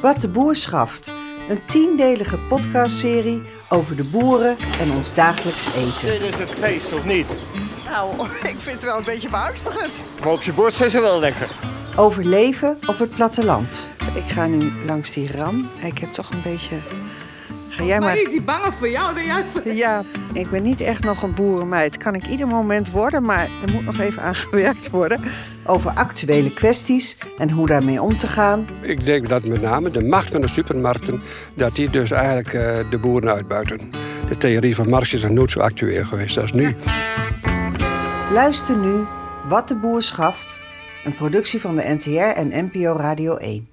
Wat de Boer Schaft. Een tiendelige podcastserie over de boeren en ons dagelijks eten. Dit is het feest, of niet? Nou, ik vind het wel een beetje beangstigend. Maar op je bord zijn ze wel lekker. Over leven op het platteland. Ik ga nu langs die ram. Ik heb toch een beetje... Ga jij Maar maar... ik die banger voor jou dan jij voor... Ja, ik ben niet echt nog een boerenmeid. Kan ik ieder moment worden, maar er moet nog even aan gewerkt worden. Over actuele kwesties en hoe daarmee om te gaan. Ik denk dat met name de macht van de supermarkten, dat die dus eigenlijk eh, de boeren uitbuiten. De theorie van Marx is nog nooit zo actueel geweest als nu. Luister nu Wat de Boer Schaft, een productie van de NTR en NPO Radio 1.